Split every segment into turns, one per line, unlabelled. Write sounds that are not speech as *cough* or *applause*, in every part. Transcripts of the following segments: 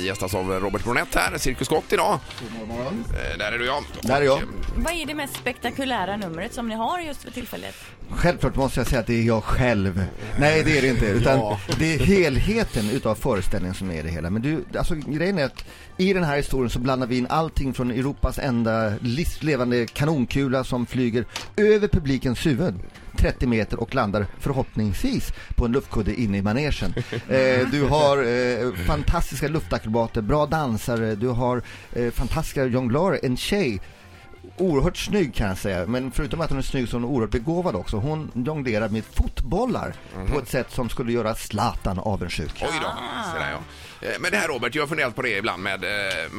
Vi gästas av Robert Bronett här, Cirkus Scott idag. Eh, Där är du jag.
Där är jag.
Vad är det mest spektakulära numret som ni har just för tillfället?
Självklart måste jag säga att det är jag själv. Nej, det är det inte. Utan det är helheten utav föreställningen som är det hela. Men du, alltså grejen är att i den här historien så blandar vi in allting från Europas enda livslevande kanonkula som flyger över publikens huvud. 30 meter och landar förhoppningsvis på en luftkudde inne i manegen. Eh, du har eh, fantastiska luftakrobater, bra dansare, du har eh, fantastiska jonglörer, en tjej oerhört snygg kan jag säga. Men förutom att hon är snygg så är hon oerhört begåvad också. Hon jonglerar med fotbollar på ett sätt som skulle göra Zlatan avundsjuk.
Oj då.
Ah.
Så där, ja. Eh, Men det här Robert, jag har funderat på det ibland med, eh,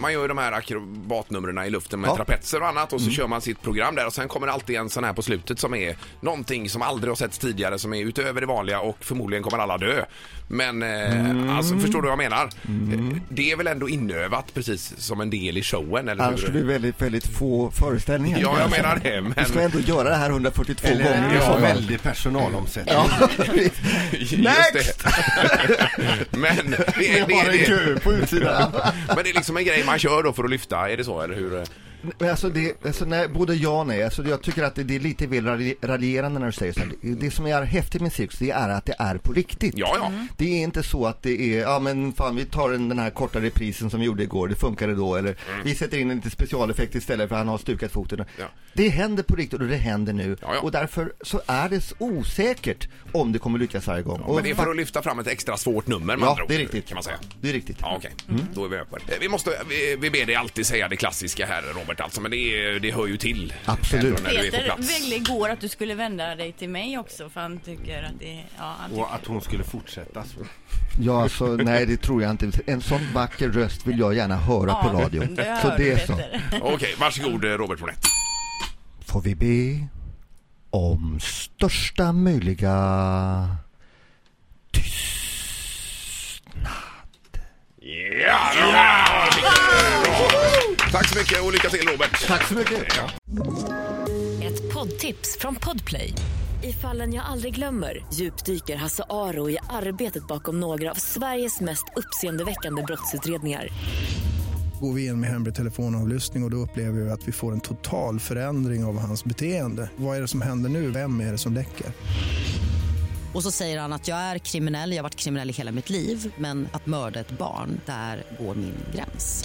man gör ju de här akrobatnumren i luften med
Ja. Mm.
trapetser och annat och så kör man sitt program där och sen kommer det alltid en sån här på slutet som är någonting som aldrig har setts tidigare som är utöver det vanliga och förmodligen kommer alla dö. Men eh,
Mm.
alltså, förstår du vad jag menar? Eh, Det är väl ändå inövat precis som en del i showen? Eller
Annars
hur?
skulle det väldigt, väldigt få föreställningar.
Ja, jag menar det, men-
Du ska ändå göra det här 142 gånger
ja,
i sommar.
väldig personalomsättning.
Ja,
*laughs* Just
Next!
det. *laughs* Men det, är- det,
Bara en
är- det,
kö på utsidan.
*laughs* men det är liksom en grej man kör då för att lyfta, är det så eller hur?
Men alltså det, alltså nej, både ja och nej. Alltså jag tycker att det, det är lite väl ralj- raljerande när du säger så här. Det- Det som är häftigt med cirkus, det är att det är på riktigt.
Ja, ja.
Det är inte så att det är, ja men fan vi tar den den här korta reprisen som vi gjorde igår, det funkade då, eller vi sätter in en liten specialeffekt istället för han har stukat foten.
Mm. Ja.
Det händer på riktigt och det händer nu.
Ja, ja.
Och därför så är det så osäkert om det kommer lyckas varje gång. och
Men det är för att lyfta fram ett extra svårt nummer med
Ja,
andra ord,
det är riktigt. Mm.
Kan man säga.
Det är riktigt.
Ja, okej. Då är vi med på det. Eh, Vi, måste, vi, vi ber dig alltid säga det klassiska här, Robert, alltså, men det, är- det hör ju till.
Absolut.
Ändå När du är på
Peter
plats.
ville igår att du skulle vända dig till mig också för han tycker att det är... Ja, han tycker.
Och att hon skulle fortsätta så.
Ja, alltså, nej det tror jag inte. En sån vacker röst vill jag gärna höra
Ja,
på radio.
det
Så
hör
det
du,
är så.
Peter.
Okej, varsågod eh, Robert Bronett.
får vi be om största möjliga
Ja! Bra! Bra. Tack så mycket och lycka till Robert.
Tack så mycket!
Ett poddtips från Podplay. I fallen jag aldrig glömmer djupdyker Hasse Aro i arbetet bakom några av Sveriges mest uppseendeväckande brottsutredningar.
går vi in med hemlig telefonavlyssning och, och då upplever vi att vi får en total förändring av hans beteende. Vad är det som händer nu? Vem är det som läcker?
Och så säger han att jag är kriminell, jag har varit kriminell i hela mitt liv men att mörda ett barn, där går min gräns.